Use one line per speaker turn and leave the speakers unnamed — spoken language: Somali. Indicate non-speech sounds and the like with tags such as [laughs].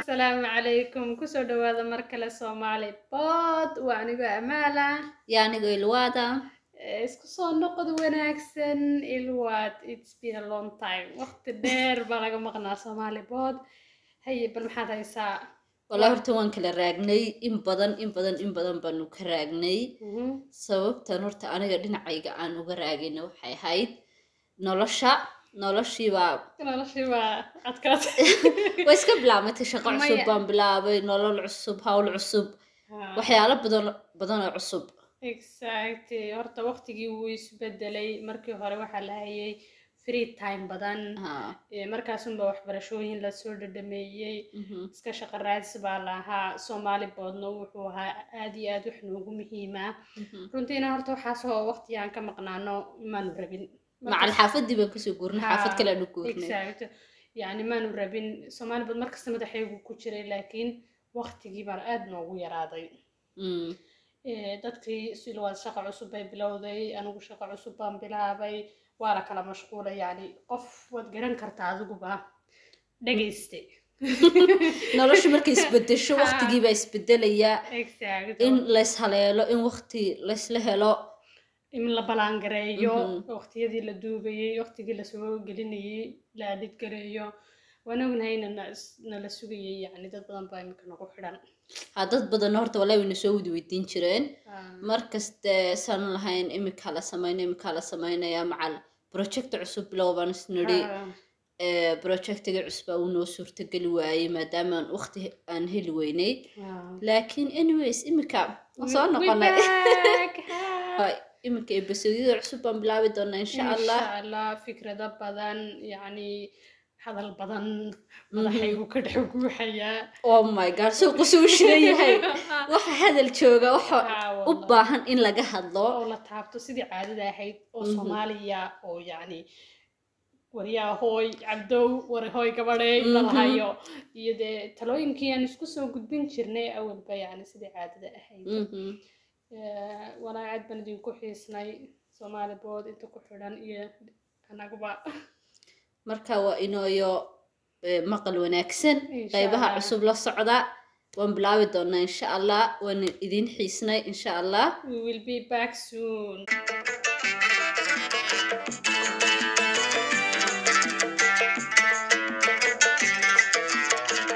asalaamu calaykum kusoo dhawaada mar kale soomaali bod waa anigoo amaala
yaa anigo ilwaada
Eh, isku soo noqod wanaagsan ilwaad its been a long time waqti dheer baa laga maqnaa soomaali bod haye bal maxaad haysaa
walaa horta waan kala raagnay in badan in badan in badan baanu ka raagnay
Mhm.
sababtan horta aniga dhinacayga aan uga raagayna waxay ahayd nolosha noloshiibaa
[laughs] noloshii baa adkaatay
way iska bilaabmatay shaqo
Maya.
cusub baan bilaabay nolol cusub hawl cusub
Ah.
waxyaalo badan badan oo cusub
exactly horta waqtigii wuu isbedelay markii hore waxaa la hayay free time badan
Haa,
Eh, markaasunba waxbarashooyin lasoo dhadhameeyey
mhm.
iska shaqo raadis baa lahaa soomaali boodno wuxuu ahaa aad iyo aad wax noogu muhiima
Mhm.
runtiina horta waxaas oo waqti aan ka maqnaano maanu rabin
macal xaafadii baan kasoo guurnay xaafad
Haa,
kale aanu guurnay
exact yani maanu rabin soomaali bood markasta madaxaygu ku jiray laakiin waqtigii baan aad noogu yaraaday
Mm,
Eh, dadkii silwaad shaqo cusub bay bilowday anigu shaqo cusub baan bilaabay waa la kala mashquulay yani qof waad garan kartaa adiguba dhegayste
noloshu markay isbedesho
Haa.
waqtigiibaa isbedelayaa
Exact.
in lays haleelo in waqti laysla helo
in la balaangareeyo
Mhm.
waqtiyadii la duubayay waqtigii lasoo gelinayay la adidgareeyo waan ognahayna na is- nala sugayay yani dad badan baa imika nagu xidhan
ha dad badan horta walaa wayna soo wada weydiin jireen
Ah,
markaste saan lahayn iminkaa la samayna iminkaa la samaynayaa macal project cusub bilow baan isnidhi
ah,
projectiga cusbaa uu noo suurtogeli waayey maadaama aan waqti aan heli weynay
ah.
laakiin anyways iminka waan soo
We- we
noqonay
back.
[laughs]
Haa.
Ay, iminka ebasodyada cusub baan bilaabi doonaa insha allah
insha allah fikrado badan yani hadal badan
Mhm.
madaxaygu ka dhex guuxayaa
oh my god suuqu suu shidan yahay waxa hadal jooga waxa
[laughs] Ah,
u
wallahi.
baahan in laga hadlo
oo la taabto sidii caadada ahayd oo
Mhm.
soomaaliya oo yani waryaa hooy cabdow war hooy gabadhey
Mhm.
lalahayo iyo dee talooyinkii aan isku soo gudbin jirnay awalba yani sidii caadada ahayd
Mhm.
Eh, walaa aad baan idinku xiisnay soomaali bood inta ku xidhan iyo anaguba
marka waa inooyo eh, maqal wanaagsan
Insha
qaybaha
Allah.
cusub la socda waan bilaabi doonaa insha allah waan idin xiisnay insha allah
we will be back soon